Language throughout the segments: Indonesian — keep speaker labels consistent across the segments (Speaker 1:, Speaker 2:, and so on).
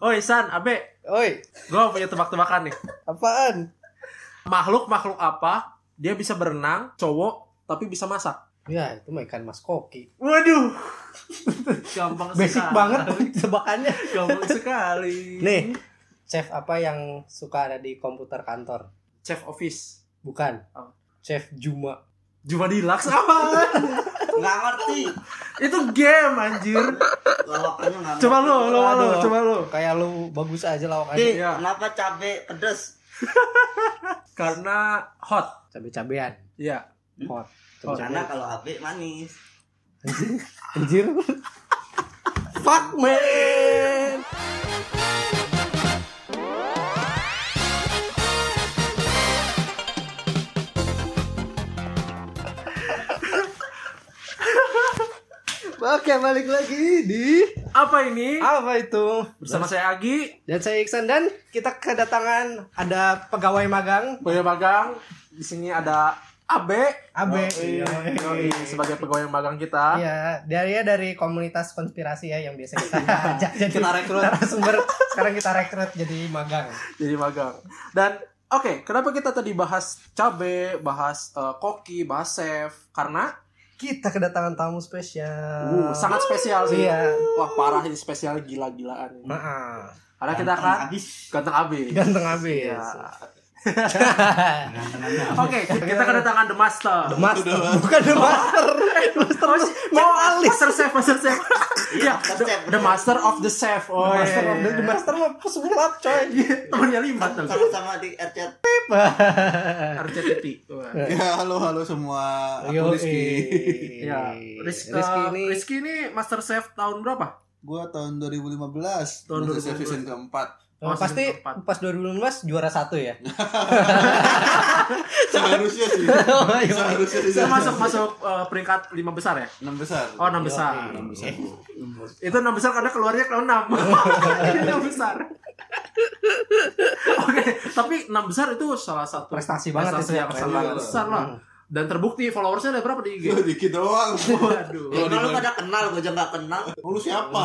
Speaker 1: Oi San, Oh, Abe,
Speaker 2: Oi,
Speaker 1: gue punya tebak-tebakan nih.
Speaker 2: apaan?
Speaker 1: Makhluk makhluk apa dia bisa berenang, cowok tapi bisa masak?
Speaker 2: Ya, itu mah ikan mas koki.
Speaker 1: Waduh, gampang
Speaker 2: Basic
Speaker 1: sekali.
Speaker 2: banget tebakannya.
Speaker 1: gampang sekali.
Speaker 2: Nih, chef apa yang suka ada di komputer kantor?
Speaker 1: chef office,
Speaker 2: Bukan.
Speaker 1: Apa?
Speaker 2: Chef Juma.
Speaker 1: Juma Deluxe apa?
Speaker 3: Nggak ngerti.
Speaker 1: Itu game anjir.
Speaker 3: Lawakannya nggak ngerti.
Speaker 1: Coba lu, lu, lu,
Speaker 2: Aduh.
Speaker 1: coba lu.
Speaker 2: Kayak lu bagus aja
Speaker 3: Di,
Speaker 2: lawakannya.
Speaker 1: Iya.
Speaker 3: kenapa cabe pedes?
Speaker 1: Karena hot.
Speaker 2: Cabe-cabean.
Speaker 1: Iya.
Speaker 2: Hot.
Speaker 1: Oh,
Speaker 2: iya.
Speaker 3: Karena kalau HP manis.
Speaker 2: Anjir. Fuck man. Oke, balik lagi di
Speaker 1: Apa ini?
Speaker 2: apa itu?
Speaker 1: Bersama saya Agi,
Speaker 2: Dan saya Iksan dan kita kedatangan ada pegawai magang.
Speaker 1: pegawai magang. Di sini ada Abe.
Speaker 2: Abe.
Speaker 1: Yoi,
Speaker 2: Yoi.
Speaker 1: yoi, sebagai pegawai magang kita.
Speaker 2: Iya, dari dari komunitas konspirasi ya yang biasa kita ajak jadi
Speaker 3: Kita rekrut.
Speaker 2: sumber sekarang kita rekrut jadi magang.
Speaker 1: jadi magang. Dan oke, kenapa kita tadi bahas cabe, bahas eh, koki, bahas chef? Karena
Speaker 2: Kita kedatangan tamu spesial.
Speaker 1: uh, sangat spesial sih.
Speaker 2: Hmm. Iya.
Speaker 1: Wah, parah ini spesial gila-gilaan. ini.
Speaker 2: Maaf.
Speaker 1: Karena kita
Speaker 3: Ganteng
Speaker 1: akan
Speaker 3: Habis.
Speaker 1: ganteng abis.
Speaker 2: Ganteng habis.
Speaker 1: Iya. Oke, kita kedatangan The Master.
Speaker 2: The Master. Bukan The Master. Master mau alis.
Speaker 1: Master Chef, Oh, Master Chef. Iya,
Speaker 3: Master Chef.
Speaker 1: the, the Master of the Chef. Oh,
Speaker 2: The
Speaker 1: iya,
Speaker 2: Master of the,
Speaker 1: iya.
Speaker 2: The Master mah pesulap coy.
Speaker 1: Temennya limat tuh.
Speaker 3: Sama-sama di RCT.
Speaker 1: RCTI. Wah.
Speaker 4: Ya, halo halo semua. Aku Rizky.
Speaker 1: Iya. Riz- eh,
Speaker 2: Rizky ini
Speaker 1: Rizky ini Master Chef tahun berapa?
Speaker 4: Gua tahun 2015.
Speaker 1: Tahun
Speaker 4: Master
Speaker 1: 2015.
Speaker 4: Chef season keempat.
Speaker 2: oh, pasti
Speaker 1: season keempat.
Speaker 2: pas 2015 juara satu ya.
Speaker 4: Seharusnya sih.
Speaker 2: iya.
Speaker 4: Seharusnya sih.
Speaker 1: Saya masuk masuk eh, peringkat lima besar ya?
Speaker 4: enam besar.
Speaker 1: Oh
Speaker 2: Iya,
Speaker 1: enam besar.
Speaker 4: Enam besar.
Speaker 1: Itu enam besar karena keluarnya ke enam. Ini enam besar. Oke, tapi enam besar itu salah satu
Speaker 2: Prestasi banget
Speaker 1: prestasi
Speaker 2: itu ya,
Speaker 1: yang
Speaker 2: Pak.
Speaker 1: sangat
Speaker 4: Iya.
Speaker 1: besar lah. Dan terbukti followersnya ada berapa di IG?
Speaker 4: Gua dikit doang. Oh,
Speaker 1: Waduh.
Speaker 3: Ya, kalau lu pada kenal, gue aja nggak kenal.
Speaker 4: Lu siapa?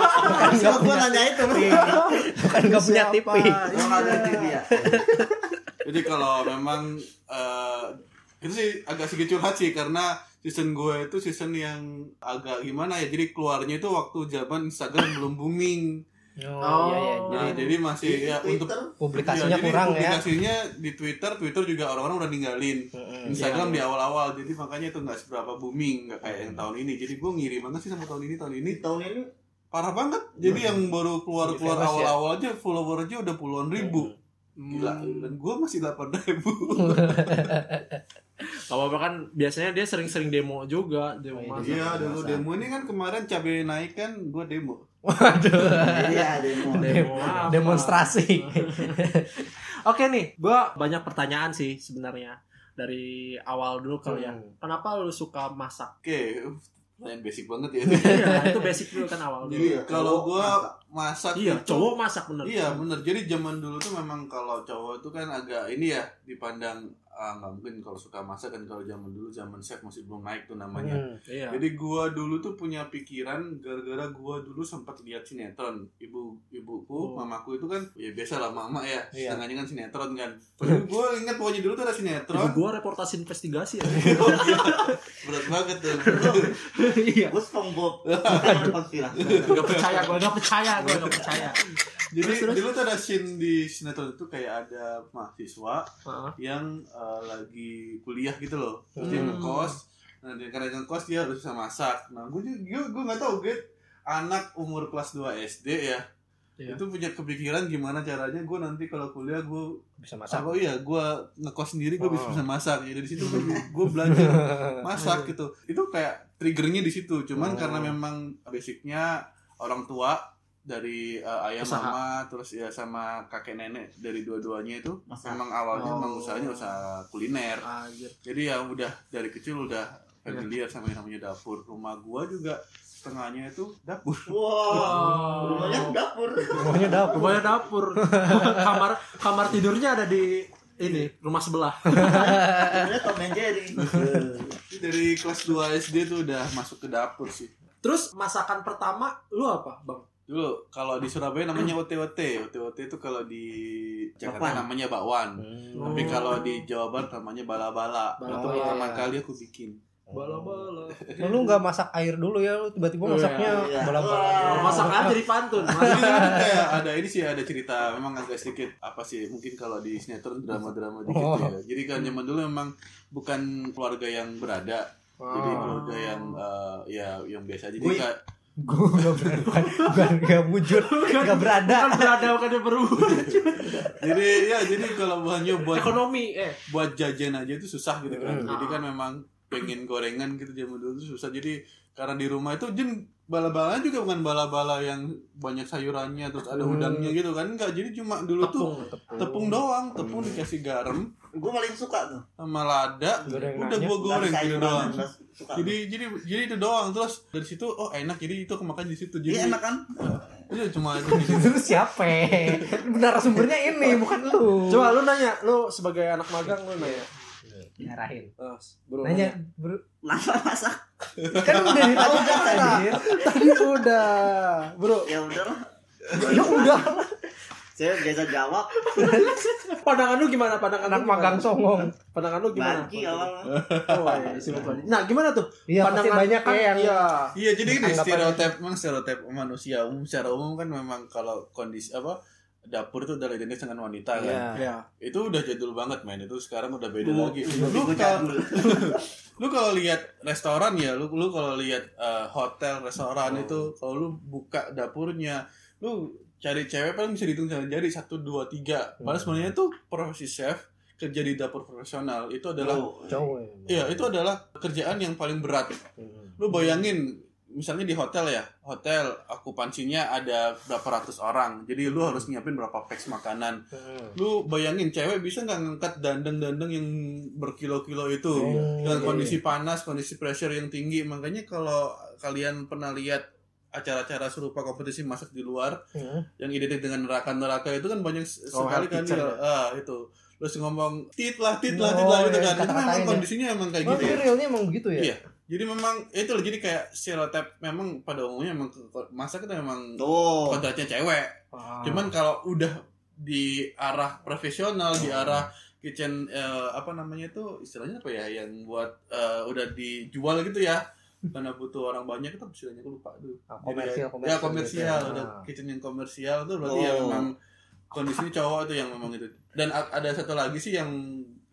Speaker 3: Siapa gue nanya itu?
Speaker 2: Bukan gak punya Oh, TV.
Speaker 1: Iya.
Speaker 3: Gue nggak ngerti dia.
Speaker 4: Jadi kalau memang eh, itu sih agak sedikit curhat sih karena season gue itu season yang agak gimana ya. Jadi keluarnya itu waktu zaman Instagram belum booming.
Speaker 2: Oh iya iya.
Speaker 4: Nah,
Speaker 2: Jadi
Speaker 4: jadi masih
Speaker 1: Iya.
Speaker 4: ya untuk
Speaker 3: Twitter.
Speaker 2: publikasinya
Speaker 4: Iya, jadi
Speaker 2: kurang ya.
Speaker 4: publikasinya di Twitter, Twitter juga orang-orang udah ninggalin.
Speaker 2: Iya,
Speaker 4: Instagram
Speaker 5: Iya.
Speaker 4: di awal-awal, jadi makanya itu nggak seberapa booming, nggak kayak yang tahun ini. Jadi gue ngiri banget sih sama tahun ini, tahun ini
Speaker 3: Di tahun ini
Speaker 4: parah banget. Jadi yang baru keluar-keluar
Speaker 2: Iya, famous ya.
Speaker 4: awal-awal aja follower aja udah puluhan ribu.
Speaker 1: Iya,
Speaker 4: Gila, dan gue masih delapan ribu.
Speaker 1: Kalau bahkan kan, biasanya dia sering-sering demo juga, demo
Speaker 2: Oh,
Speaker 1: masak.
Speaker 4: Iya, dulu demo ini kan kemarin cabai naik kan, gue demo.
Speaker 2: Waduh.
Speaker 3: iya demo.
Speaker 1: Demo apa?
Speaker 2: Demonstrasi.
Speaker 1: Oke nih, gua banyak pertanyaan sih sebenarnya dari awal dulu kalau ya.
Speaker 2: Hmm.
Speaker 1: Kenapa lu suka masak?
Speaker 4: Oke, uh, pertanyaan basic banget ya.
Speaker 1: Iya, itu basic dulu kan awal dulu.
Speaker 3: Iya,
Speaker 4: Kalau
Speaker 3: cowok
Speaker 4: gue
Speaker 3: masak.
Speaker 4: masak,
Speaker 1: Iya,
Speaker 4: itu-
Speaker 1: cowok masak bener.
Speaker 4: Iya bener, jadi zaman dulu tuh memang kalau cowok itu kan agak ini ya dipandang ah, nggak mungkin kalau suka masak kan kalau zaman dulu zaman chef masih belum naik tuh namanya.
Speaker 2: Hmm.
Speaker 1: Iya.
Speaker 4: Jadi gua dulu tuh punya pikiran gara-gara gua dulu sempat lihat sinetron ibu ibuku
Speaker 1: Oh.
Speaker 4: mamaku itu kan ya biasa lah mama ya
Speaker 2: Iya.
Speaker 4: setengahnya kan sinetron kan. Tapi gua ingat pokoknya dulu tuh ada
Speaker 1: Ibu
Speaker 4: sinetron.
Speaker 1: gua reportasi investigasi ya.
Speaker 4: Berat banget tuh.
Speaker 1: Iya.
Speaker 3: Gue SpongeBob. Bukan konspirasi.
Speaker 1: Gak percaya gua, gak percaya gua, gak percaya.
Speaker 4: Jadi
Speaker 1: Terus, terus.
Speaker 4: dulu tuh ada scene di sinetron itu kayak ada mahasiswa
Speaker 1: Heeh.
Speaker 4: yang uh, lagi kuliah gitu loh terus dia
Speaker 1: Hmm.
Speaker 4: ngekos nah dia karena ngekos dia harus bisa masak nah gue gue gue nggak tahu gue anak umur kelas 2 SD ya
Speaker 1: Iya.
Speaker 4: itu punya kepikiran gimana caranya gue nanti kalau kuliah gue
Speaker 2: Bisa masak.
Speaker 4: apa iya gue ngekos sendiri gue bisa
Speaker 2: Oh.
Speaker 4: bisa masak ya dari situ gue gue belajar masak gitu itu kayak triggernya di situ
Speaker 2: Oh.
Speaker 4: cuman karena memang basicnya orang tua dari uh, ayah
Speaker 1: Usaha.
Speaker 4: mama terus ya sama kakek nenek dari dua-duanya itu
Speaker 3: Masa
Speaker 4: memang
Speaker 1: Oh.
Speaker 4: awalnya memang usahanya usaha kuliner
Speaker 1: Anjir.
Speaker 4: jadi ya udah dari kecil udah familiar sama yang namanya dapur rumah gua juga setengahnya itu dapur
Speaker 3: Wow.
Speaker 1: Oh.
Speaker 3: Rumahnya dapur.
Speaker 2: Rumahnya dapur.
Speaker 1: Rumahnya dapur. kamar kamar tidurnya ada di ini, rumah sebelah.
Speaker 3: Rumahnya Tom and Jerry.
Speaker 4: Jadi dari kelas 2 SD tuh udah masuk ke dapur sih
Speaker 1: Terus masakan pertama lu apa, Bang?
Speaker 4: Dulu kalau di Surabaya namanya OTOT. OTOT itu kalau di
Speaker 3: Bakwan.
Speaker 4: Jakarta namanya bakwan.
Speaker 5: Hmm.
Speaker 4: Tapi kalau di Jawa Barat namanya bala-bala.
Speaker 1: Bala-bala.
Speaker 4: Itu pertama kali aku bikin.
Speaker 1: Bala-bala.
Speaker 5: Lu- lu nggak masak air dulu ya lu tiba-tiba
Speaker 1: Iya,
Speaker 5: masaknya
Speaker 3: iya.
Speaker 5: bola-bola
Speaker 3: Wah.
Speaker 1: Masak aja di pantun.
Speaker 4: Jadi sebenarnya kayak ada ini sih ada cerita memang agak sedikit apa sih mungkin kalau di sinetron drama-drama dikit ya. Jadi kan zaman dulu memang bukan keluarga yang berada, jadi
Speaker 2: Oh.
Speaker 4: keluarga yang eh, ya yang biasa aja. Jadi
Speaker 3: Wih.
Speaker 4: kayak
Speaker 5: gue nggak berada gak, gak wujud nggak berada
Speaker 1: Kan berada bukan dia berubah.
Speaker 4: jadi ya jadi kalau hanya buat
Speaker 1: Ekonomi eh.
Speaker 4: buat jajan aja itu susah gitu kan.
Speaker 5: Hmm.
Speaker 4: Jadi kan memang pengen gorengan gitu zaman dulu itu susah. Jadi karena di rumah itu jen bala-bala juga bukan bala-bala yang banyak sayurannya terus ada
Speaker 5: Hmm.
Speaker 4: udangnya gitu kan enggak jadi cuma dulu tuh
Speaker 1: Tepung.
Speaker 4: tepung doang tepung dikasih garam
Speaker 3: Gue paling suka tuh.
Speaker 4: sama lada
Speaker 5: Gorengannya.
Speaker 4: udah gua goreng
Speaker 3: Nasi
Speaker 4: gitu
Speaker 3: sayuran,
Speaker 4: doang
Speaker 3: nasi Suka.
Speaker 4: jadi jadi jadi itu doang terus dari situ oh enak jadi itu kemakan di situ
Speaker 3: Iya
Speaker 4: jadi
Speaker 3: enak kan?
Speaker 4: itu cuma itu di situ.
Speaker 5: itu siapa benar sumbernya ini bukan lu
Speaker 1: Coba lu nanya, lu sebagai anak magang lu nanya.
Speaker 5: nyarahin
Speaker 1: Eh, bro,
Speaker 5: nanya bro
Speaker 3: Lama masak.
Speaker 5: kan udah ditanya anjir.
Speaker 1: Tadi udah, bro.
Speaker 3: Ya udahlah.
Speaker 5: ya udah
Speaker 3: Saya biasa jawab.
Speaker 1: Pandangan lu gimana? Pandangan
Speaker 5: anak
Speaker 1: lu gimana?
Speaker 5: magang songong
Speaker 1: Pandangan lu gimana?
Speaker 3: Bagi awalnya.
Speaker 1: Oh, iya, silat lagi. Nah, gimana tuh?
Speaker 5: iya pasti banyak ya yang
Speaker 1: Iya.
Speaker 4: iya jadi gini
Speaker 5: Anggapan- ya.
Speaker 4: stereotip memang stereotip manusia umum secara umum kan memang kalau kondisi apa dapur itu udah identik dengan wanita kan
Speaker 5: Iya.
Speaker 1: Iya.
Speaker 4: itu udah jadul banget men itu sekarang udah beda
Speaker 1: Hmm.
Speaker 4: lagi
Speaker 5: iya,
Speaker 4: lu
Speaker 3: Gue
Speaker 4: kalau
Speaker 3: jadul.
Speaker 4: lu kalau lihat restoran ya lu lu kalau lihat eh, hotel restoran itu
Speaker 5: Oh.
Speaker 4: kalau lu buka dapurnya lu cari cewek paling bisa dihitung sama jari satu dua tiga
Speaker 5: Hmm.
Speaker 4: padahal sebenarnya tuh profesi chef kerja di dapur profesional itu adalah
Speaker 5: Oh.
Speaker 3: Tuh.
Speaker 5: cowok Iya.
Speaker 4: ya itu adalah kerjaan yang paling berat lu bayangin misalnya di hotel ya hotel okupansinya ada berapa ratus orang jadi lu harus nyiapin berapa packs makanan lu bayangin cewek bisa nggak ngangkat dandang-dandang yang berkilo-kilo itu
Speaker 5: Iya.
Speaker 4: dengan
Speaker 5: Iya.
Speaker 4: kondisi panas kondisi pressure yang tinggi makanya kalau kalian pernah lihat acara-acara serupa kompetisi masak di luar yang identik dengan neraka-neraka itu kan banyak s-
Speaker 1: Oh,
Speaker 4: sekali
Speaker 1: health
Speaker 4: kan
Speaker 1: kitchen
Speaker 4: ya, ah, itu terus ngomong tit lah tit lah tit
Speaker 5: Oh,
Speaker 4: lah gitu
Speaker 5: iya,
Speaker 4: kan itu memang
Speaker 5: kata-katanya.
Speaker 4: kondisinya emang kayak
Speaker 5: Oh,
Speaker 4: gitu
Speaker 5: ini
Speaker 4: ya.
Speaker 5: realnya emang gitu ya?
Speaker 4: Iya. jadi memang ya itu loh jadi kayak stereotip memang pada umumnya memang ke- ke- masak itu memang
Speaker 3: Tuh.
Speaker 4: kodratnya cewek
Speaker 5: Ah.
Speaker 4: Cuman kalau udah di arah profesional,
Speaker 5: Ah.
Speaker 4: di arah kitchen eh, apa namanya itu istilahnya apa ya yang buat eh, udah dijual gitu ya. Karena butuh orang banyak itu istilahnya aku lupa tuh.
Speaker 5: Ah,
Speaker 4: Jadi,
Speaker 5: komersial,
Speaker 4: Ya
Speaker 5: komersial.
Speaker 4: komersial,
Speaker 5: gitu ya.
Speaker 4: udah
Speaker 5: Ah.
Speaker 4: kitchen yang komersial tuh berarti ya
Speaker 3: Oh.
Speaker 4: memang kondisinya cowok itu yang memang itu. Dan a- ada satu lagi sih yang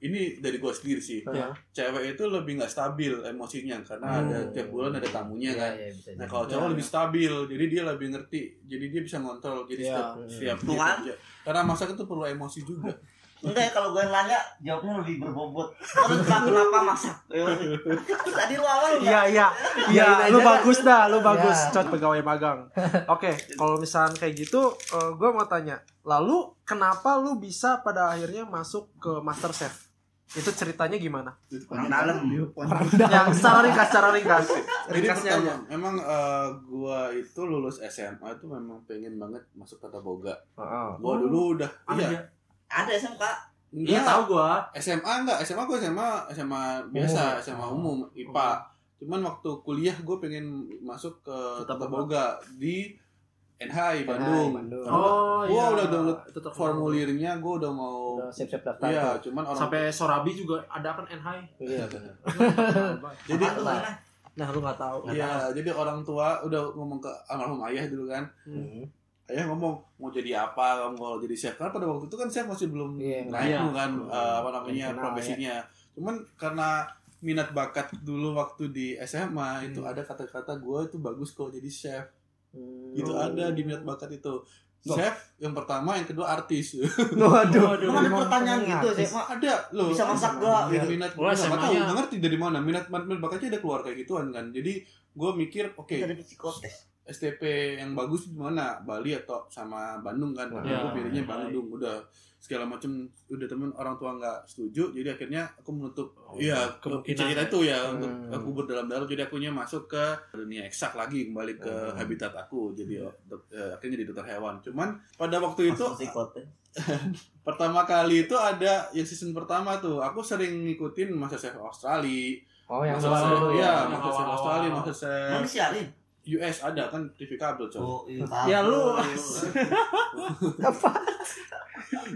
Speaker 4: ini dari gua sendiri sih.
Speaker 5: Iya.
Speaker 4: Cewek itu lebih nggak stabil emosinya karena ada tiap bulan ada tamunya
Speaker 5: Iya,
Speaker 4: kan.
Speaker 5: Hmm. iya, bisa
Speaker 4: Nah
Speaker 5: jadi.
Speaker 4: kalau cowok lebih stabil, jadi dia lebih ngerti, jadi dia bisa ngontrol, jadi
Speaker 1: Iya.
Speaker 4: setiap
Speaker 5: Hmm.
Speaker 4: setiap dia
Speaker 3: Tuh kan?
Speaker 4: kerja. Karena masak itu perlu emosi juga.
Speaker 3: Enggak ya kalau gue nanya jawabnya lebih berbobot. Terus Pak, kenapa masak? Ya, Tadi lu
Speaker 1: Iya,
Speaker 3: awal enggak?
Speaker 1: iya. Iya,
Speaker 5: Iyain aja
Speaker 1: lu
Speaker 5: dah.
Speaker 1: bagus dah, lu bagus.
Speaker 5: Iya.
Speaker 1: Cot pegawai magang. Oke, kalau misalkan kayak gitu, eh, gua mau tanya. Lalu kenapa lu bisa pada akhirnya masuk ke Master Chef? Itu ceritanya gimana?
Speaker 3: Orang dalam.
Speaker 1: Yang secara ringkas, secara ringkas.
Speaker 4: Jadi
Speaker 1: Ringkasnya aja.
Speaker 4: pertama, memang eh, gua itu lulus SMA itu memang pengen banget masuk tata boga.
Speaker 5: Heeh.
Speaker 4: Gua dulu udah, iya,
Speaker 3: Ada ya, SMK.
Speaker 1: Ah, Iya,
Speaker 4: enggak.
Speaker 1: tahu gua.
Speaker 4: SMA enggak, SMA gua SMA SMA biasa,
Speaker 5: Oh.
Speaker 4: SMA umum IPA. Cuman waktu kuliah gue pengen masuk ke
Speaker 1: Tata
Speaker 4: tata boga di NHI Bandung.
Speaker 5: Bandung. Oh.
Speaker 4: Karena
Speaker 1: Oh,
Speaker 4: Gua
Speaker 1: iya.
Speaker 4: udah download
Speaker 1: Tetap
Speaker 4: formulirnya gue udah mau
Speaker 5: Udah siap-siap daftar.
Speaker 4: Iya, cuman orang
Speaker 1: sampai Sorabi juga ada kan NHI.
Speaker 5: Iya.
Speaker 4: jadi
Speaker 3: Apaan tuh,
Speaker 5: Lah.
Speaker 3: Nah,
Speaker 1: Nah, lu nggak tahu.
Speaker 4: Iya, jadi orang tua udah ngomong ke almarhum ayah dulu kan.
Speaker 5: Hmm.
Speaker 4: Ayah ngomong mau jadi apa kamu kalau jadi chef karena pada waktu itu kan chef masih belum
Speaker 5: Iya,
Speaker 4: naik
Speaker 1: iya.
Speaker 4: tuh kan eh, apa namanya
Speaker 5: Belum kenal,
Speaker 4: profesinya. Cuman karena minat bakat dulu waktu di SMA itu
Speaker 5: Hmm.
Speaker 4: ada kata-kata gue itu bagus kalau jadi chef. Itu
Speaker 5: Oh.
Speaker 4: ada di minat bakat itu. Chef yang pertama, yang kedua artis.
Speaker 5: Waduh.
Speaker 1: Waduh.
Speaker 3: Lu ada pertanyaan gitu sih, Mak.
Speaker 4: ada loh.
Speaker 3: Bisa masak gua,
Speaker 4: Iya,
Speaker 3: gitu.
Speaker 4: minat
Speaker 1: Wah,
Speaker 4: gua nggak tahu
Speaker 1: SMA-nya.
Speaker 4: nggak ngerti dari mana minat minat bakatnya ada keluar kayak gituan kan. Jadi gue mikir oke
Speaker 3: Dari psikotes.
Speaker 4: STP yang bagus di mana Bali atau sama Bandung kan tapi
Speaker 5: Iya.
Speaker 4: aku
Speaker 3: Ya.
Speaker 4: pilihnya Bandung udah segala macam udah temen orang tua nggak setuju jadi akhirnya aku menutup
Speaker 1: iya.
Speaker 4: ya
Speaker 1: Oh, kemungkinan.
Speaker 4: cerita itu ya untuk
Speaker 5: Hmm.
Speaker 4: aku berdalam-dalam jadi akunya masuk ke dunia eksak lagi kembali ke
Speaker 1: Hmm.
Speaker 4: habitat aku
Speaker 3: Hmm.
Speaker 4: jadi dok- eh, akhirnya di dokter hewan cuman pada waktu itu
Speaker 3: Masuk psikotes.
Speaker 4: pertama kali itu ada yang season pertama tuh aku sering ngikutin masa chef Australia
Speaker 5: Oh, yang ya?
Speaker 4: Master
Speaker 1: awal
Speaker 4: Chef-
Speaker 1: dulu
Speaker 4: iya
Speaker 2: ya?
Speaker 1: yang
Speaker 4: masa chef
Speaker 1: awal-awal.
Speaker 4: Australia masa chef
Speaker 3: Emang disiarin?
Speaker 4: US ada kan TV kabel coy.
Speaker 3: Oh, iya,
Speaker 1: Ya,
Speaker 3: paham.
Speaker 1: lu-
Speaker 5: Apa?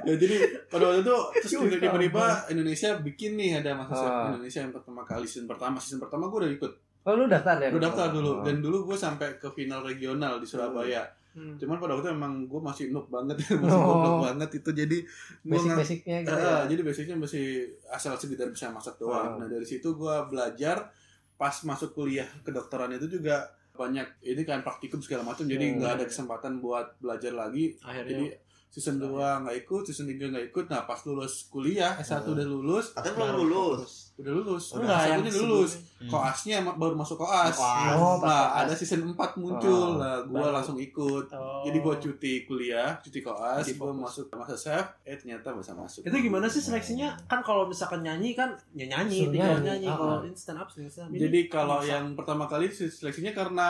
Speaker 4: Ya, jadi pada waktu itu terus
Speaker 5: Yuk,
Speaker 4: tiba- tiba-tiba Indonesia bikin nih ada masa
Speaker 2: Ah.
Speaker 4: Indonesia yang pertama kali season pertama season pertama gue udah ikut
Speaker 2: Oh, lu daftar ya?
Speaker 4: gue daftar
Speaker 2: Oh.
Speaker 4: dulu dan dulu gue sampai ke final regional di Surabaya
Speaker 1: Hmm.
Speaker 4: cuman pada waktu itu emang gue masih noob banget ya, masih
Speaker 2: Oh.
Speaker 4: goblok banget itu jadi gue nggak
Speaker 2: Basic-basicnya gitu.
Speaker 4: Eh,
Speaker 2: ya.
Speaker 4: jadi basicnya masih asal sekedar bisa masak
Speaker 2: Ah.
Speaker 4: doang nah dari situ gue belajar pas masuk kuliah kedokteran itu juga banyak ini kan praktikum segala macam jadi
Speaker 2: Hmm.
Speaker 4: nggak ada kesempatan buat belajar lagi
Speaker 1: Akhirnya.
Speaker 4: jadi season 2 nggak ikut, season 3 nggak ikut. Nah, pas lulus kuliah, S1 udah lulus,
Speaker 3: Katanya belum lulus.
Speaker 4: udah lulus.
Speaker 3: Udah,
Speaker 4: Udah,
Speaker 1: yang
Speaker 4: S1-nya udah lulus.
Speaker 3: Hmm.
Speaker 4: Koasnya emang baru masuk koas.
Speaker 3: Koas.
Speaker 2: Oh, pas
Speaker 4: nah,
Speaker 2: koas.
Speaker 4: ada season 4 muncul.
Speaker 2: Oh.
Speaker 4: Nah,
Speaker 1: Baru.
Speaker 4: gua langsung ikut.
Speaker 1: oh.
Speaker 4: Jadi gua cuti kuliah, cuti koas,
Speaker 1: Jadi
Speaker 4: gua
Speaker 1: fokus.
Speaker 4: masuk masa chef, eh ternyata bisa masuk.
Speaker 1: itu gimana sih seleksinya kan kalau misalkan nyanyi kan ya nyanyi
Speaker 2: Suruh
Speaker 1: tinggal nyanyi
Speaker 2: nyanyi. Ah.
Speaker 1: kalau ini stand up stand up ini
Speaker 4: Jadi kalau
Speaker 1: masak.
Speaker 4: yang pertama kali seleksinya karena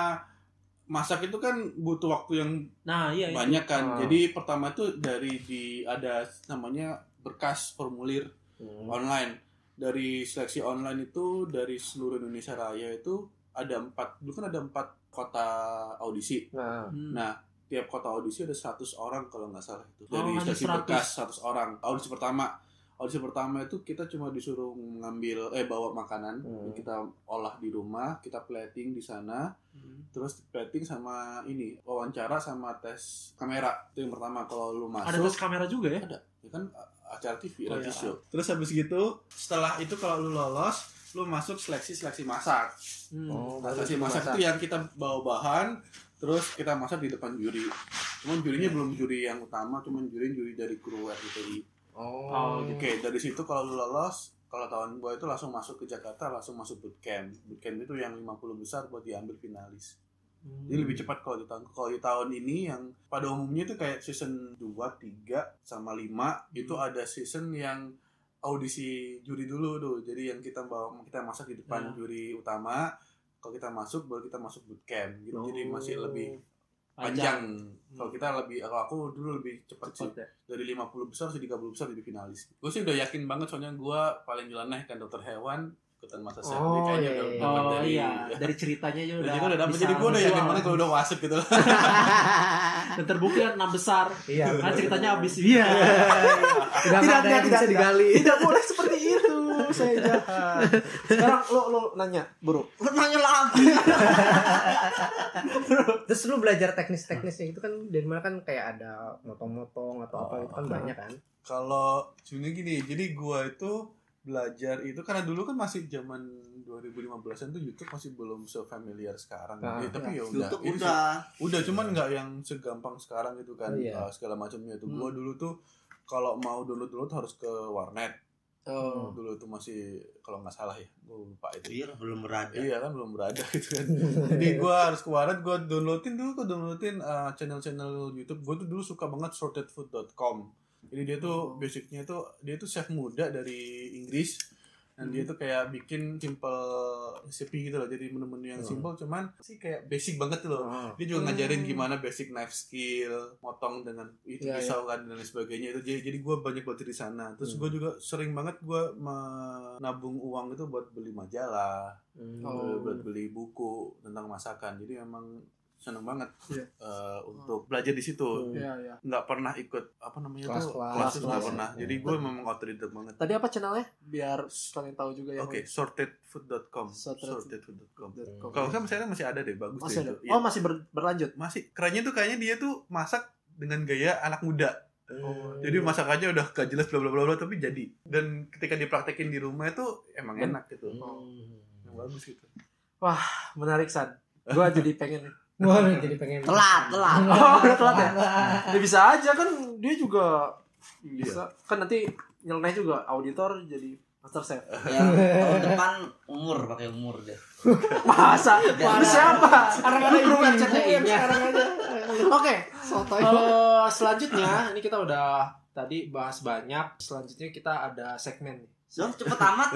Speaker 4: masak itu kan butuh waktu yang
Speaker 1: nah iya itu.
Speaker 4: banyak kan.
Speaker 2: Ah.
Speaker 4: Jadi pertama tuh dari di ada namanya berkas formulir
Speaker 2: Hmm.
Speaker 4: online dari seleksi online itu dari seluruh Indonesia Raya itu ada empat dulu kan ada empat kota audisi
Speaker 2: Nah,
Speaker 1: Hmm.
Speaker 4: nah tiap kota audisi ada 100 orang kalau nggak salah itu
Speaker 1: Oh,
Speaker 4: dari
Speaker 1: hanya
Speaker 4: seleksi
Speaker 1: 100.
Speaker 4: berkas 100 orang audisi pertama audisi pertama itu kita cuma disuruh ngambil eh bawa makanan
Speaker 2: Hmm.
Speaker 4: kita olah di rumah kita plating di sana
Speaker 1: Hmm.
Speaker 4: terus plating sama ini wawancara sama tes kamera itu yang pertama kalau lu masuk
Speaker 1: ada tes kamera juga ya
Speaker 4: ya kan a- acara TV
Speaker 1: Oh,
Speaker 4: reality
Speaker 1: iya.
Speaker 4: show. Terus habis gitu setelah itu kalau lu lolos lu masuk seleksi seleksi masak.
Speaker 1: Hmm.
Speaker 2: oh, baru
Speaker 4: Seleksi masak, ya.
Speaker 2: masak.
Speaker 4: itu yang kita bawa bahan terus kita masak di depan juri. Cuman jurinya belum juri yang utama, cuman juri juri dari kru RCTI.
Speaker 2: Oh,
Speaker 1: Oh,
Speaker 4: Oke,
Speaker 5: gitu.
Speaker 4: dari situ kalau lu lolos kalau tahun gua itu langsung masuk ke Jakarta, langsung masuk bootcamp. Bootcamp itu yang 50 besar buat diambil finalis.
Speaker 1: Hmm.
Speaker 4: Jadi lebih cepat kalau di tahun kalau di tahun ini yang pada umumnya itu kayak season 2, 3 sama 5 itu ada season yang audisi juri dulu tuh. Jadi yang kita bawa kita masak di depan
Speaker 1: Ya.
Speaker 4: juri utama, kalau kita masuk baru kita masuk bootcamp gitu. Jadi masih
Speaker 2: Oh.
Speaker 4: lebih
Speaker 1: Panjang.
Speaker 4: panjang. Kalau kita lebih kalau aku dulu lebih cepat sih.
Speaker 1: Cepat ya.
Speaker 4: Dari 50 besar ke 30 besar jadi finalis. Gue sih udah yakin banget soalnya gua paling jeleneh kan dokter hewan ikutan masa saya. Jadi
Speaker 2: Oh,
Speaker 4: kayaknya
Speaker 2: iya,
Speaker 4: udah
Speaker 2: iya.
Speaker 4: dapat
Speaker 1: Oh
Speaker 4: dari-
Speaker 1: iya, dari ceritanya aja udah.
Speaker 4: Jadi gua udah dapet,
Speaker 1: bisa
Speaker 4: jadi gue udah yakin
Speaker 1: menjual.
Speaker 4: banget kalau udah masuk gitu
Speaker 1: Dan terbukti kan enam besar.
Speaker 2: Iya.
Speaker 1: Nah, ceritanya habis. Iya.
Speaker 5: Tidak,
Speaker 2: Tidak, ada
Speaker 5: tidak,
Speaker 2: yang
Speaker 5: tidak,
Speaker 2: bisa
Speaker 5: tidak.
Speaker 2: digali.
Speaker 1: Tidak boleh seperti itu. Saya jahat.
Speaker 5: Sekarang lo lo nanya, bro.
Speaker 3: Lu nanya lagi.
Speaker 2: Terus lu belajar
Speaker 1: Hmm.
Speaker 2: teknis-teknisnya itu kan dari mana kan kayak ada motong-motong atau apa itu kan
Speaker 1: Oh.
Speaker 2: banyak kan?
Speaker 4: Kalau sebenarnya gini, jadi gua itu belajar itu karena dulu kan masih zaman 2015-an tuh YouTube masih belum se-familiar sekarang.
Speaker 1: Nah.
Speaker 2: Ah.
Speaker 4: Ya,
Speaker 1: Iya.
Speaker 4: tapi ya udah.
Speaker 3: YouTube
Speaker 4: Ini se-
Speaker 3: udah.
Speaker 4: udah cuman nggak yang segampang sekarang gitu kan.
Speaker 2: Iya. Hmm.
Speaker 4: eh, segala macamnya itu. Gua dulu tuh kalau mau download-download harus ke warnet.
Speaker 2: Oh.
Speaker 4: Dulu tuh masih kalau nggak salah ya, gua lupa itu.
Speaker 3: Iya, belum berada.
Speaker 4: Iya kan belum berada gitu kan. Jadi gue harus ke warnet, gue downloadin dulu, gue downloadin uh, channel-channel YouTube. Gue tuh dulu suka banget sortedfood.com. Jadi dia
Speaker 2: Oh.
Speaker 4: tuh basicnya tuh dia tuh chef muda dari Inggris dan
Speaker 2: Hmm.
Speaker 4: dia tuh kayak bikin simple resepi gitu loh. Jadi menu-menu yang
Speaker 2: Hmm.
Speaker 4: simple cuman sih kayak basic banget tuh loh.
Speaker 2: Oh.
Speaker 4: Dia juga ngajarin
Speaker 1: Hmm.
Speaker 4: gimana basic knife skill, motong dengan itu
Speaker 1: Ya,
Speaker 2: Iya,
Speaker 4: pisau kan dan lain sebagainya itu. Jadi, jadi gue banyak belajar di sana. Terus
Speaker 2: Hmm.
Speaker 4: gue juga sering banget gue menabung uang itu buat beli majalah,
Speaker 1: Oh.
Speaker 4: buat beli buku tentang masakan. Jadi memang seneng banget
Speaker 1: Iya.
Speaker 4: eh, untuk belajar di situ.
Speaker 2: Hmm.
Speaker 1: Iya, iya.
Speaker 4: Nggak pernah ikut apa namanya tuh
Speaker 2: Kelas-kelas.
Speaker 4: kelas tuh nggak
Speaker 2: Kelas-kelas.
Speaker 4: pernah. Jadi gue memang otodidak banget.
Speaker 1: Tadi apa channelnya? Biar kalian tahu juga ya. yang
Speaker 4: Oke, sortedfood.com.
Speaker 1: Sorted-
Speaker 4: Sortedfood.com.
Speaker 1: Kok-
Speaker 4: Kalau saya misalnya masih ada deh, bagus
Speaker 1: masih ada.
Speaker 4: deh. itu. Iya.
Speaker 1: Oh, masih ber- berlanjut.
Speaker 4: masih kerennya tuh kayaknya dia tuh masak dengan gaya anak muda.
Speaker 5: Hmm.
Speaker 4: Jadi masakannya udah gak jelas bla bla bla bla tapi jadi. Dan ketika dipraktekin di rumah itu emang
Speaker 1: Ben-
Speaker 4: enak gitu. Yang
Speaker 2: Hmm.
Speaker 4: bagus gitu.
Speaker 1: Menarik San. Gua jadi pengen.
Speaker 2: Wah, jadi pengen
Speaker 3: Telat, telat.
Speaker 1: Oh, udah telat ya? Ya bisa aja kan dia juga bisa. Kan nanti nyeleneh juga auditor jadi master chef.
Speaker 3: Ya, tahun depan umur pakai umur deh.
Speaker 1: Masa?
Speaker 3: Jangan.
Speaker 1: Lu siapa?
Speaker 5: Sekarang
Speaker 1: Lu
Speaker 5: ada
Speaker 1: belum
Speaker 5: ibuan
Speaker 1: baca
Speaker 5: CTI
Speaker 1: DM.
Speaker 2: Iya.
Speaker 5: -nya. Sekarang ada.
Speaker 1: Oke.
Speaker 5: Sotoy.
Speaker 2: Oh.
Speaker 1: Eh, selanjutnya ini kita udah tadi bahas banyak. Selanjutnya kita ada segmen nih.
Speaker 3: Dong cepet amat.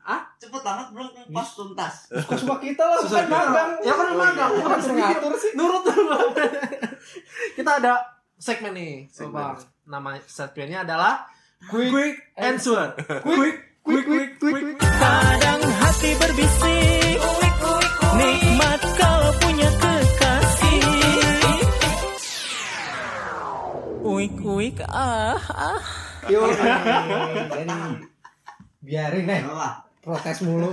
Speaker 3: Ah,
Speaker 1: Hah?
Speaker 3: Cepet amat belum kupas tuntas.
Speaker 5: Kok suka kita lah,
Speaker 1: Susah
Speaker 5: bukan
Speaker 1: juga.
Speaker 5: magang.
Speaker 1: Ya kan magang,
Speaker 2: Iya,
Speaker 1: bukan
Speaker 5: Harus
Speaker 1: sengaja.
Speaker 5: ngatur sih.
Speaker 1: Nurut Kita ada segmen nih,
Speaker 4: Segmen.
Speaker 1: Bang. Nama segmennya adalah Quick, Answer.
Speaker 5: Quick, quick, quick, quick, quick.
Speaker 6: Kadang hati berbisik Nikmat kau punya Uik uik ah ah.
Speaker 2: Yo, Iya, jadi biarin deh
Speaker 4: Eh,
Speaker 3: Lah,
Speaker 2: protes mulu.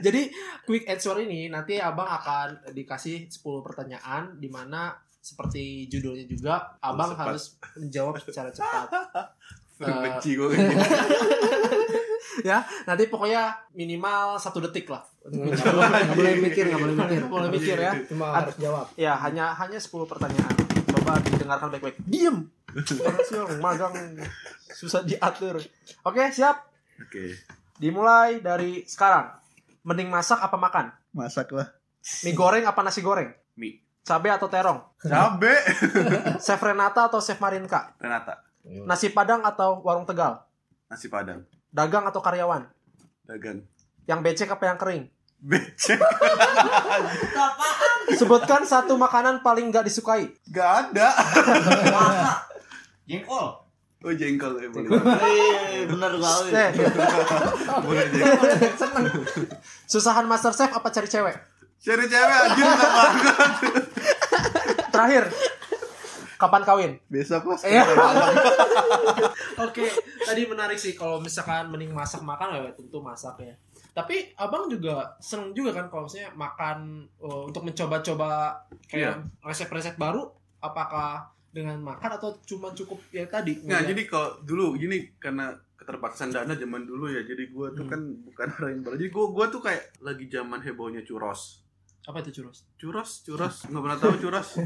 Speaker 1: Jadi quick answer ini nanti Abang akan dikasih 10 pertanyaan di mana seperti judulnya juga Abang
Speaker 4: Cepat.
Speaker 1: harus menjawab secara cepat.
Speaker 4: Benci gue kayak gitu.
Speaker 1: Ya, Nanti pokoknya minimal satu detik lah.
Speaker 2: Nggak boleh- nggak boleh mikir, nggak boleh mikir.
Speaker 1: Nggak boleh mikir ya.
Speaker 2: Cuma
Speaker 1: Ad-
Speaker 2: harus jawab.
Speaker 1: Ya, hanya hanya 10 pertanyaan. Coba didengarkan baik-baik. Diem. Orang sih orang magang susah diatur. Oke, siap.
Speaker 7: Oke.
Speaker 1: Dimulai dari sekarang. Mending masak apa makan?
Speaker 7: Masak lah.
Speaker 1: Mie goreng apa nasi goreng?
Speaker 4: Mie.
Speaker 1: Cabe atau terong?
Speaker 4: Cabe.
Speaker 1: Chef Renata atau Chef Marinka?
Speaker 4: Renata.
Speaker 2: Iya.
Speaker 1: Nasi Padang atau Warung Tegal?
Speaker 4: Nasi Padang.
Speaker 1: Dagang atau karyawan?
Speaker 4: Dagang.
Speaker 1: Yang becek apa yang kering?
Speaker 4: Becek.
Speaker 3: itu apa?
Speaker 1: Sebutkan satu makanan paling gak disukai.
Speaker 4: Gak ada.
Speaker 3: Masak. Jengkol.
Speaker 4: Oh jengkol ya boleh.
Speaker 3: Wih, bener kali.
Speaker 1: Eh,
Speaker 4: Boleh jengkol.
Speaker 1: susahan master chef apa cari cewek?
Speaker 4: Cari cewek anjir gak banget.
Speaker 1: Terakhir, kapan kawin?
Speaker 7: Besok lah.
Speaker 1: Iya. Oke, tadi menarik sih kalau misalkan mending masak makan ya tentu masak ya. Tapi abang juga seneng juga kan kalau misalnya makan eh, untuk mencoba-coba kayak
Speaker 4: Iya.
Speaker 1: resep-resep baru. Apakah dengan makan atau cuma cukup ya tadi?
Speaker 4: Nah
Speaker 1: ngeliat?
Speaker 4: jadi kalau dulu gini karena keterbatasan dana zaman dulu ya jadi gue tuh
Speaker 1: Hmm.
Speaker 4: kan bukan orang yang belajar. Jadi gue gue tuh kayak lagi zaman hebohnya curos.
Speaker 1: apa itu churros?
Speaker 4: Curas, curas, nggak pernah tahu curas.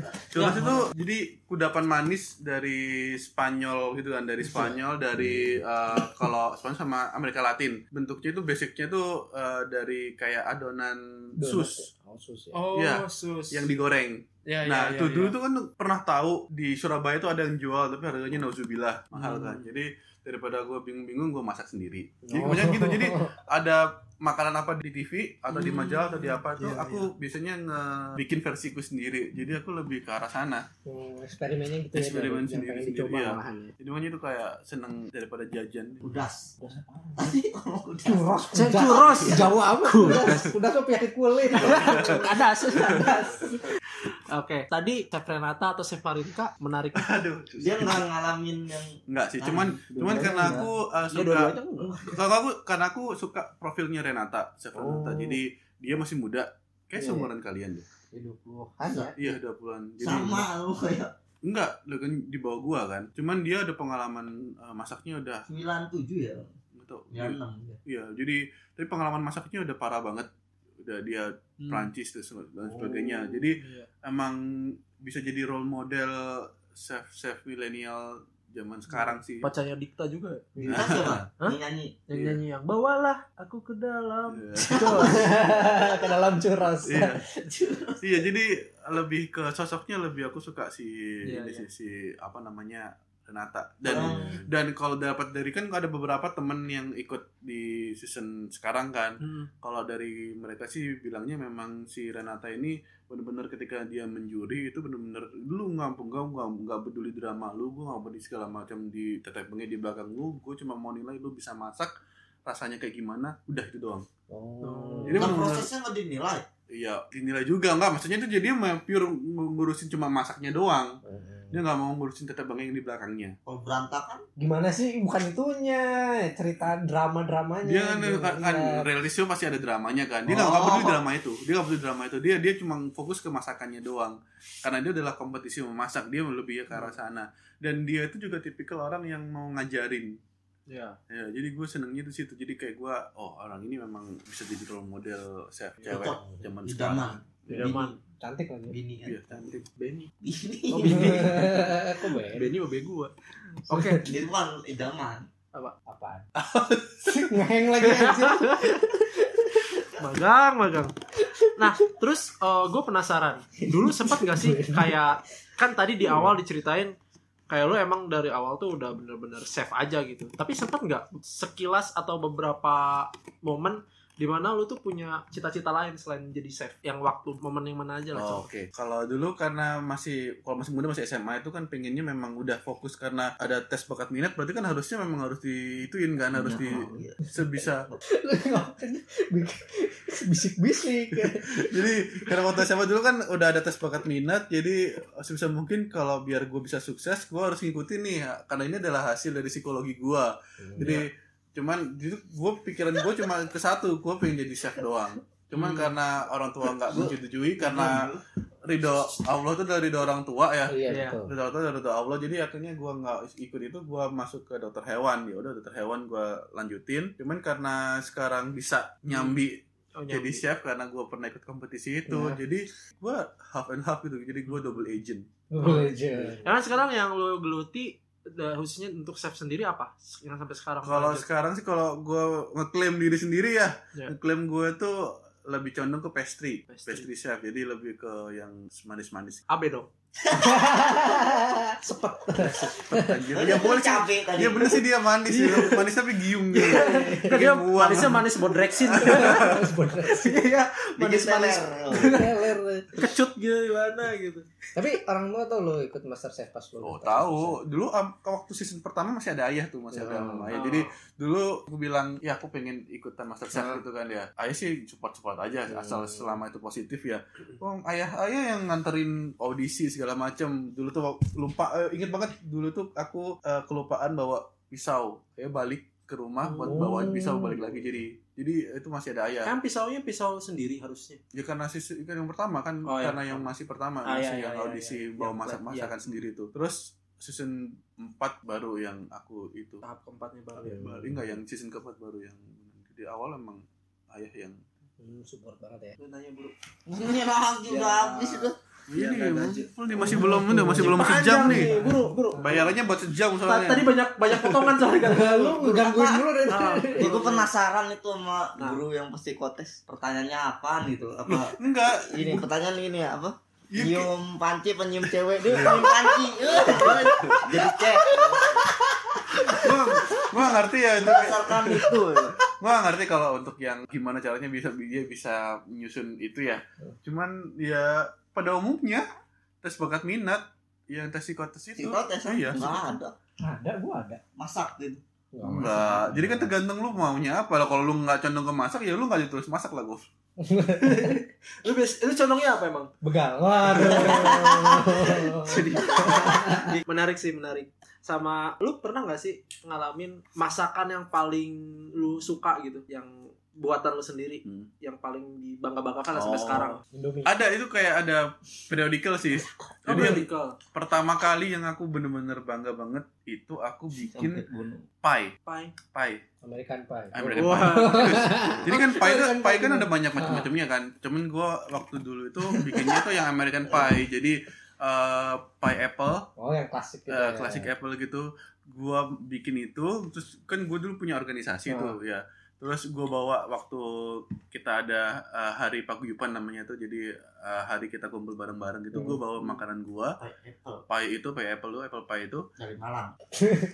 Speaker 1: Ya.
Speaker 4: Curas itu jadi kudapan manis dari Spanyol gitu kan, dari Spanyol, dari eh, kalau Spanyol sama Amerika Latin. Bentuknya itu basicnya tuh eh, dari kayak adonan
Speaker 2: Donat
Speaker 4: sus
Speaker 2: ya. Oh, sus ya.
Speaker 1: Oh,
Speaker 4: Iya,
Speaker 1: sus.
Speaker 4: yang digoreng.
Speaker 1: Ya, ya,
Speaker 4: Nah,
Speaker 1: ya,
Speaker 4: itu
Speaker 1: ya.
Speaker 4: dulu tuh kan pernah tahu di Surabaya tuh ada yang jual tapi harganya nauzubillah mahal
Speaker 1: Hmm.
Speaker 4: kan. Jadi daripada gue bingung-bingung gue masak sendiri. Jadi
Speaker 2: Oh.
Speaker 4: kebanyakan gitu. Jadi ada makanan apa di TV atau di
Speaker 1: Hmm.
Speaker 4: majalah atau di apa tuh
Speaker 1: Iya,
Speaker 4: aku biasanya ngebikin versiku sendiri jadi aku lebih ke arah sana
Speaker 2: Hmm, eksperimennya gitu
Speaker 4: Eksperimen
Speaker 2: ya. Yang pengen
Speaker 4: sendiri-sendiri,
Speaker 2: dicoba
Speaker 4: iya.
Speaker 2: malahan ya.
Speaker 4: jadi makanya itu kayak seneng daripada jajan
Speaker 3: Udas. Tadi ngomong udas.
Speaker 2: Kuros,
Speaker 1: Saya churros.
Speaker 2: Jawa apa? Kuros. Udah tuh penyakit kulit.
Speaker 4: Iya,
Speaker 1: Kadas. Oke, tadi Chef Renata atau Chef Marinka menarik.
Speaker 4: aduh
Speaker 3: Dia nggak ngalamin yang
Speaker 4: enggak
Speaker 3: Ah,
Speaker 4: sih cuman cuman
Speaker 7: dua-duanya
Speaker 4: karena
Speaker 7: enggak.
Speaker 4: aku uh,
Speaker 1: Ya
Speaker 4: suka
Speaker 1: dua-duanya enggak.
Speaker 4: kalau aku karena aku suka profilnya Renata Chef Renata
Speaker 2: Oh.
Speaker 4: jadi dia masih muda kayak
Speaker 2: Iya,
Speaker 4: seumuran kalian deh
Speaker 2: Hidup lu. Hanya.
Speaker 4: iya
Speaker 1: ya?
Speaker 4: 20-an jadi
Speaker 3: sama lu kayak
Speaker 4: enggak lu kan di bawah gua kan cuman dia ada pengalaman uh, masaknya udah
Speaker 3: 97 ya.
Speaker 4: gitu
Speaker 3: Ya 6
Speaker 4: iya jadi tapi pengalaman masaknya udah parah banget udah dia
Speaker 1: Hmm.
Speaker 4: Prancis dan sebe- dan sebagainya jadi
Speaker 1: Iya.
Speaker 4: emang bisa jadi role model chef chef milenial zaman sekarang sih.
Speaker 1: pacarnya Dikta juga ya?
Speaker 3: Kita siapa?
Speaker 1: Hah?
Speaker 3: Yang nyanyi.
Speaker 1: yang
Speaker 4: Iya.
Speaker 1: nyanyi yang bawalah aku ke dalam
Speaker 4: Iya.
Speaker 2: Ke dalam curas.
Speaker 4: Iya. Iya, jadi lebih ke sosoknya lebih aku suka si
Speaker 1: Iya, iya.
Speaker 4: ini
Speaker 1: Oh.
Speaker 4: sih, si apa namanya Renata dan
Speaker 3: Nah, Dan
Speaker 4: dan kalau dapat dari kan ada beberapa temen yang ikut di season sekarang kan
Speaker 1: Hmm.
Speaker 4: kalau dari mereka sih bilangnya memang si Renata ini bener-bener ketika dia menjuri itu bener-bener lu nggak nggak nggak nggak peduli drama lu gue nggak peduli segala macam di tetepengnya di belakang lu gue cuma mau nilai lu bisa masak rasanya kayak gimana udah itu doang
Speaker 2: Oh.
Speaker 4: Jadi
Speaker 3: Nah,
Speaker 4: bener-bener-
Speaker 3: prosesnya nggak dinilai.
Speaker 4: iya dinilai juga nggak maksudnya itu jadi memang pure ng- ngurusin cuma masaknya doang dia nggak mau ngurusin tetepengnya yang di belakangnya
Speaker 3: Kalau berantakan
Speaker 2: Gimana sih? Bukan itunya. Cerita drama-dramanya.
Speaker 4: dia kan, kan, kan
Speaker 2: Iya.
Speaker 4: realisnya pasti ada dramanya kan dia nggak nggak peduli drama itu dia nggak peduli drama itu dia dia cuma fokus ke masakannya doang karena dia adalah kompetisi memasak dia lebih ke arah sana dan dia itu juga tipikal orang yang mau ngajarin
Speaker 1: Iya.
Speaker 4: ya jadi gue senengnya di situ jadi kayak gue oh orang ini memang bisa jadi role model chef cewek
Speaker 3: cocok.
Speaker 4: zaman sekarang
Speaker 3: Idaman.
Speaker 1: Idaman.
Speaker 2: Cantik lagi.
Speaker 3: Bini kan.
Speaker 4: Iya, cantik
Speaker 1: Benny
Speaker 4: Iya.
Speaker 3: Bini.
Speaker 1: Oh, Bini.
Speaker 2: Kok beda?
Speaker 1: Benny mau bego eh. gua
Speaker 2: Oke.
Speaker 3: Dia bukan idaman.
Speaker 2: Apaan? Ngeheng lagi anjir.
Speaker 1: magang magang nah terus gue penasaran dulu sempat nggak sih kayak kan tadi di awal diceritain kayak lu emang dari awal tuh udah bener-bener safe aja gitu tapi sempat nggak sekilas atau beberapa momen dimana lu tuh punya cita-cita lain selain jadi chef yang waktu momen yang mana aja lah
Speaker 4: Oh,
Speaker 1: Cok.
Speaker 4: Oke, kalau dulu karena masih kalau masih muda masih SMA itu kan pengennya memang udah fokus karena ada tes bakat minat berarti kan harusnya memang harus diituin kan harus di sebisa
Speaker 2: bisik-bisik
Speaker 4: jadi karena waktu SMA dulu kan udah ada tes bakat minat jadi sebisa mungkin kalau biar gue bisa sukses gue harus ngikutin nih karena ini adalah hasil dari psikologi gue jadi cuman jadi gue pikiran gue cuma ke satu gue pengen jadi chef doang cuman
Speaker 1: Hmm.
Speaker 4: karena orang tua nggak menyetujui karena ridho Allah itu dari ridho orang tua ya
Speaker 2: iya
Speaker 1: Iya.
Speaker 2: betul
Speaker 4: Ridho Allah dari ridho Allah jadi akhirnya gue nggak ikut itu gue masuk ke dokter hewan ya udah dokter hewan gue lanjutin cuman karena sekarang bisa nyambi
Speaker 1: Oh,
Speaker 4: jadi
Speaker 1: nyambi.
Speaker 4: chef karena gue pernah ikut kompetisi itu
Speaker 2: Iya.
Speaker 4: jadi gue half and half gitu jadi gue double agent
Speaker 2: Boleh aja.
Speaker 1: Karena sekarang yang lu geluti eh, khususnya untuk chef sendiri apa yang sampai sekarang
Speaker 4: kalau
Speaker 1: lanjut?
Speaker 4: sekarang sih kalau gue ngeklaim diri sendiri ya
Speaker 1: Iya.
Speaker 4: ngeklaim gue tuh lebih condong ke pastry.
Speaker 1: Pastry.
Speaker 4: pastry chef jadi lebih ke yang manis-manis
Speaker 1: AB dong
Speaker 4: Anjir, ya boleh sih
Speaker 3: cabe tadi.
Speaker 4: ya bener sih dia manis ya. manis tapi giung gitu
Speaker 1: Iya. dia
Speaker 4: buang.
Speaker 1: manisnya manis bodreksin
Speaker 2: Harus bener.
Speaker 1: iya
Speaker 3: Bikin
Speaker 1: manis manis
Speaker 3: teler.
Speaker 2: Teler.
Speaker 1: kecut gitu gimana gitu
Speaker 2: Tapi orang tua tau lo ikut Master Chef pas lo.
Speaker 4: Oh tahu dulu am- waktu season pertama masih ada ayah tuh masih ada
Speaker 2: Hmm.
Speaker 4: sama ayah jadi dulu aku bilang ya aku pengen ikutan master chef gitu kan ya ayah sih support support aja
Speaker 2: Hmm.
Speaker 4: asal selama itu positif ya oh, ayah ayah yang nganterin audisi segala macem dulu tuh wak- lupa eh, inget banget dulu tuh aku eh, kelupaan bawa pisau saya balik ke rumah buat
Speaker 2: Oh.
Speaker 4: bawa pisau balik lagi jadi jadi itu masih ada ayah
Speaker 1: kan pisaunya pisau sendiri harusnya
Speaker 4: ya karena sih kan yang pertama kan
Speaker 1: Oh, iya.
Speaker 4: karena yang masih pertama
Speaker 1: Ah,
Speaker 4: masih
Speaker 1: iya,
Speaker 4: yang
Speaker 1: iya,
Speaker 4: audisi
Speaker 1: iya, iya.
Speaker 4: bawa
Speaker 1: Yang
Speaker 4: masak
Speaker 1: plat, iya.
Speaker 4: masakan sendiri itu terus season 4 baru yang aku itu
Speaker 1: tahap keempatnya baru
Speaker 4: baru enggak yang season keempat baru yang di awal emang ayah yang
Speaker 2: Hmm, support banget ya.
Speaker 1: Lu nanya dulu
Speaker 3: Ini lagi udah habis udah.
Speaker 1: Iya,
Speaker 4: ini
Speaker 1: kan,
Speaker 4: ini masih belum udah masih belum
Speaker 1: Panjang
Speaker 4: sejam nih
Speaker 1: buru buru
Speaker 4: bayarannya buat sejam
Speaker 1: Ta-
Speaker 4: soalnya
Speaker 1: tadi banyak banyak potongan soalnya gara-gara lu
Speaker 2: Lu gangguin dulu deh.
Speaker 1: Ah,
Speaker 3: Ya gue penasaran itu
Speaker 1: Nah.
Speaker 3: sama guru yang psikotes. Pertanyaannya apaan gitu? Apa
Speaker 4: enggak
Speaker 3: ini pertanyaan ini ya apa?
Speaker 4: Iya,
Speaker 3: Nyium panci penyium cewek dia
Speaker 1: Iya.
Speaker 3: nyium panci. Eh, Jadi cek
Speaker 4: gua gua nggak ngerti ya untuk
Speaker 3: berdasarkan itu. ya.
Speaker 4: gua nggak ngerti kalau untuk yang gimana caranya bisa dia bisa menyusun itu ya cuman ya pada umumnya tes bakat minat yang tes psikotes itu
Speaker 3: Psikotes
Speaker 4: iya
Speaker 3: Enggak kan? ada.
Speaker 2: Ada, gua ada.
Speaker 3: Masak gitu.
Speaker 4: Enggak, jadi kan tergantung lu maunya apa. Lah kalau lu nggak condong ke masak ya lu nggak ditulis masak lah, Gov.
Speaker 1: lu bias lu condongnya apa emang
Speaker 2: begal. Waduh.
Speaker 1: Jadi, menarik sih menarik sama lu pernah nggak sih ngalamin masakan yang paling lu suka gitu yang buatan lu sendiri
Speaker 4: Hmm.
Speaker 1: yang paling dibangga-banggakan lah sampai
Speaker 4: Oh.
Speaker 1: sekarang
Speaker 2: Indomie.
Speaker 4: Ada itu kayak ada periodical sih.
Speaker 1: oh,
Speaker 4: Jadi yang
Speaker 1: radical
Speaker 4: pertama kali yang aku bener-bener bangga banget itu aku bikin pie,
Speaker 1: pie
Speaker 4: pie
Speaker 2: American Pie. Oh,
Speaker 4: American
Speaker 1: Wah.
Speaker 4: pie. Jadi kan pie itu
Speaker 2: American
Speaker 4: pie
Speaker 2: pie.
Speaker 4: kan ada banyak macam-macamnya kan. Cuman gua waktu dulu itu bikinnya tuh yang American pie. Jadi eh, pie apple
Speaker 2: Oh, yang klasik gitu. ya.
Speaker 4: eh klasik Apple gitu gua bikin itu terus kan gue dulu punya organisasi
Speaker 2: Ah.
Speaker 4: tuh ya terus gue bawa waktu kita ada eh, hari paguyuban namanya tuh jadi eh, hari kita kumpul bareng-bareng gitu gue bawa makanan gua pie itu pie apple tuh apple pie itu
Speaker 3: Dari Malang.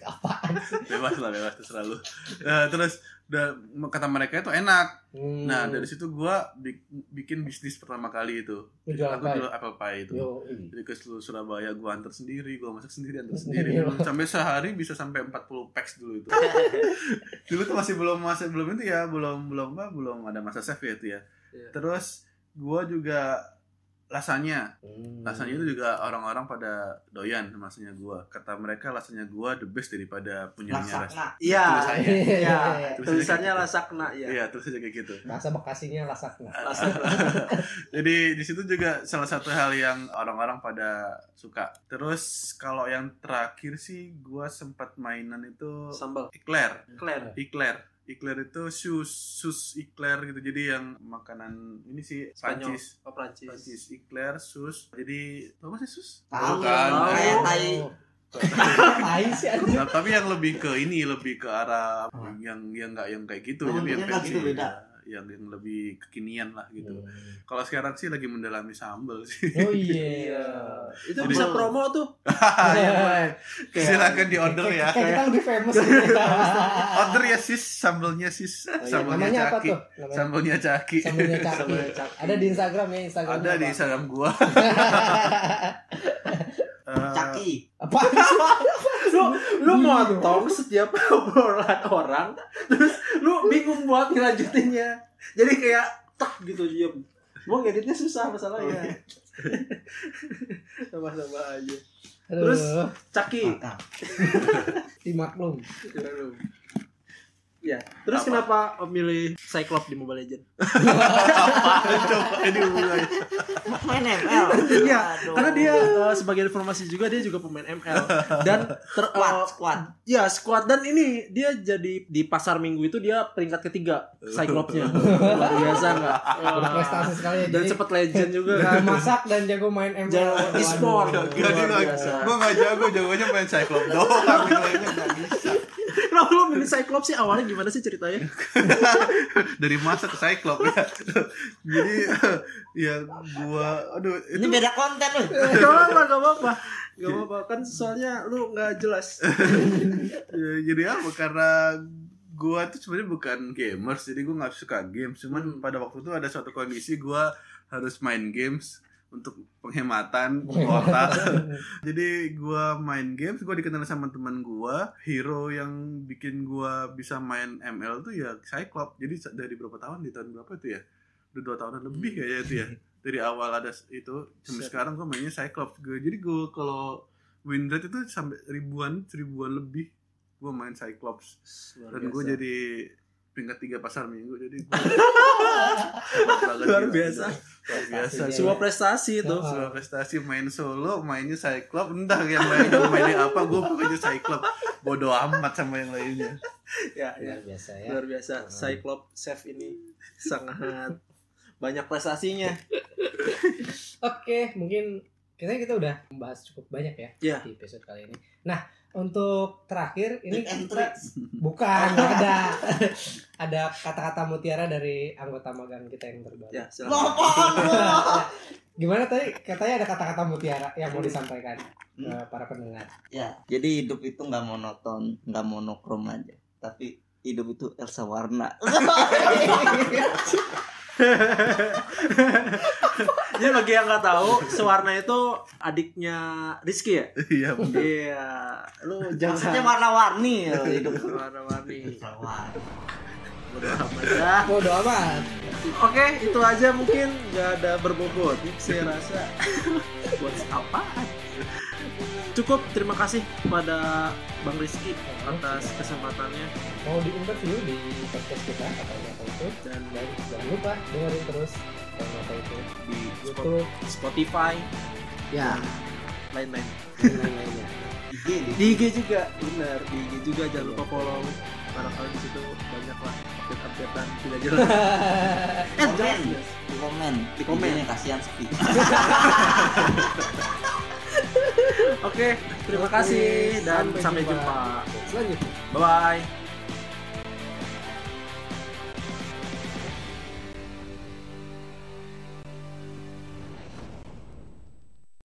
Speaker 2: Apaan?
Speaker 4: bebas lah bebas terserah lu Eh, terus da- kata mereka itu enak
Speaker 2: Hmm.
Speaker 4: nah dari situ gua bi- bikin bisnis pertama kali itu
Speaker 2: Lu jualan
Speaker 4: aku
Speaker 2: pie?
Speaker 4: jual apple pie itu
Speaker 2: Yo.
Speaker 4: jadi ke seluruh Surabaya gue antar sendiri, gue masak sendiri, antar
Speaker 2: Iya.
Speaker 4: sendiri. sampai sehari bisa sampai 40 packs dulu itu. dulu tuh masih belum masih belum itu ya, belum belum apa, belum ada masa chef ya itu ya.
Speaker 1: Iya.
Speaker 4: Terus gue juga rasanya,
Speaker 2: Hmm.
Speaker 4: rasanya itu juga orang-orang pada doyan rasanya gue. Kata mereka rasanya gue the best daripada punyanya ras-
Speaker 3: Lasakna.
Speaker 1: iya
Speaker 4: tulisannya.
Speaker 1: iya
Speaker 4: Tulisannya
Speaker 1: tulisannya
Speaker 4: kayak gitu.
Speaker 1: lasakna ya
Speaker 4: Iya, terus aja kayak gitu.
Speaker 2: Bahasa Bekasinya lasakna.
Speaker 4: Jadi di situ juga salah satu hal yang orang-orang pada suka. Terus kalau yang terakhir sih gua sempat mainan itu
Speaker 1: sambal
Speaker 4: ikler,
Speaker 1: kler
Speaker 4: ikler. Ikler itu sus sus ikler gitu. Jadi yang makanan ini sih
Speaker 1: Spanyol.
Speaker 4: Prancis.
Speaker 1: oh Prancis,
Speaker 4: Prancis ikler sus. Jadi apa sih sus?
Speaker 3: Tahu.
Speaker 4: Bukan.
Speaker 1: Tahu.
Speaker 3: Kayak tai.
Speaker 2: Oh. Tai sih anjing.
Speaker 4: Nah, tapi yang lebih ke ini lebih ke arah yang yang nggak yang kayak gitu
Speaker 3: Namun
Speaker 4: yang
Speaker 3: bentuknya Oh, nggak gitu, beda. Iya.
Speaker 4: yang yang lebih kekinian lah gitu. Kalau sekarang sih lagi mendalami sambel sih.
Speaker 2: Oh iya.
Speaker 1: Itu
Speaker 4: Jadi-
Speaker 1: bisa promo tuh.
Speaker 4: Iya, boleh. Silakan di order ya.
Speaker 2: Kayak kita lebih famous. Iya,
Speaker 4: Order ya sis sambelnya sis sambelnya
Speaker 2: Oh, Namanya apa
Speaker 4: caki.
Speaker 2: tuh? Namanya-
Speaker 4: Sambelnya caki.
Speaker 2: Sambelnya caki.
Speaker 4: Sambelnya caki.
Speaker 2: Ada di Instagram ya Instagram.
Speaker 4: Ada di Instagram gua. Eh,
Speaker 3: Caki.
Speaker 2: apa?
Speaker 1: Lu lu motong setiap obrolan orang terus lu bingung buat ngelanjutinnya. Jadi kayak tak gitu diam. Mau ngeditnya susah masalahnya. Sama-sama aja.
Speaker 2: Terus
Speaker 1: Terus- Caki.
Speaker 3: Mantap.
Speaker 2: dimaklum.
Speaker 1: Ya. Terus
Speaker 4: Apa?
Speaker 1: kenapa milih Cyclops di Mobile Legends?
Speaker 4: apaan coba ini mulai.
Speaker 3: Main ML.
Speaker 1: Iya,
Speaker 3: Aduh.
Speaker 1: Karena dia eh, sebagai informasi juga dia juga pemain ML dan ter, eh,
Speaker 3: squad squad.
Speaker 1: ya squad dan ini dia jadi di pasar minggu itu dia peringkat ketiga Cyclops-nya. Luar biasa nggak?
Speaker 2: Udah prestasi Iya. sekali ya.
Speaker 1: Ah, dan
Speaker 2: Jadi
Speaker 1: sempat legend juga
Speaker 2: jago
Speaker 1: kan.
Speaker 2: masak dan jago main ML.
Speaker 1: Jago
Speaker 2: Waduh.
Speaker 1: e-sport.
Speaker 4: Gak
Speaker 1: Luar
Speaker 4: lagi.
Speaker 1: biasa.
Speaker 4: Gua gak jago, jagonya main Cyclops doang. Yang lainnya gak
Speaker 1: eh,
Speaker 4: bisa.
Speaker 1: Kenapa lu milih Cyclops sih awalnya gimana sih ceritanya?
Speaker 4: Dari masa ke Cyclops ya. Jadi eh, ya gua aduh
Speaker 3: Ini
Speaker 4: itu
Speaker 3: beda konten loh.
Speaker 1: Gak apa-apa, gak apa-apa. Gak apa-apa kan soalnya lu nggak jelas.
Speaker 4: Ya, jadi apa karena gua tuh sebenarnya bukan gamers jadi gua nggak suka games cuman pada waktu itu ada suatu kondisi gua harus main games untuk penghematan kuota jadi gua main games gua dikenal sama teman gua hero yang bikin gua bisa main ML tuh ya Cyclops jadi sa- dari berapa tahun di tahun berapa itu ya udah dua tahunan lebih kayaknya itu ya dari awal ada s- itu sampai
Speaker 1: Hmm. Set.
Speaker 4: sekarang gua mainnya Cyclops Gua- jadi gua kalau win rate itu sampai ribuan seribuan lebih gue main Cyclops dan gue jadi peringkat tiga pasar minggu jadi gue
Speaker 1: Luar biasa.
Speaker 4: luar biasa
Speaker 2: Prestasi
Speaker 1: sebuah prestasi itu.
Speaker 2: Heeh.
Speaker 4: sebuah prestasi main solo mainnya Cyclops entah yang lain gue mainnya apa gue pokoknya Cyclops bodoh amat sama yang lainnya
Speaker 1: Ya, ya.
Speaker 2: Luar biasa ya.
Speaker 1: Luar biasa. Cyclops Chef ini sangat banyak prestasinya.
Speaker 2: Oke, mungkin kita kita udah membahas cukup banyak ya
Speaker 1: Iya.
Speaker 2: di episode kali ini. Nah, untuk terakhir ini
Speaker 3: Ini
Speaker 2: kita bukan nggak ada ada kata-kata mutiara dari anggota magang kita yang terbaru.
Speaker 1: Ya, silakan.
Speaker 3: Ngomong lu.
Speaker 2: Gimana tadi katanya ada kata-kata mutiara yang mau disampaikan ke
Speaker 3: Hmm.
Speaker 2: para pendengar.
Speaker 3: Ya, jadi hidup itu nggak monoton, nggak monokrom aja. Tapi hidup itu Elsa warna.
Speaker 1: Jadi bagi yang nggak tahu, Sewarna itu adiknya Rizky ya?
Speaker 4: iya bener.
Speaker 1: Iya, lu
Speaker 3: Maksudnya
Speaker 1: jangan
Speaker 3: warna-warni loh hidup.
Speaker 1: warna-warni.
Speaker 3: Elsa warna.
Speaker 1: Bodo amat dah.
Speaker 2: Bodoh amat.
Speaker 1: Oke, itu aja mungkin nggak ada berbobot. Saya rasa buat apaan? Cukup terima kasih kepada Bang Rizky atas kesempatannya
Speaker 2: Mau diinterview di podcast kita katanya apa itu
Speaker 1: dan
Speaker 2: dan jangan lupa dengerin terus dan apa itu
Speaker 1: di
Speaker 2: YouTube
Speaker 1: Spotify
Speaker 2: ya
Speaker 1: lain-lain.
Speaker 2: dan lain-lainnya.
Speaker 3: Gini.
Speaker 1: Di IG juga, benar. Di IG juga jangan lupa follow. Barangkali di situ banyak lah update-updatean tidak jelas. Eh,
Speaker 3: Komen, di komen, di
Speaker 1: komen.
Speaker 3: komen. Kasihan sepi.
Speaker 1: Oke, terima kasih dan sampai
Speaker 2: Sampai jumpa.
Speaker 1: jumpa.
Speaker 2: Selanjutnya.
Speaker 1: Bye bye.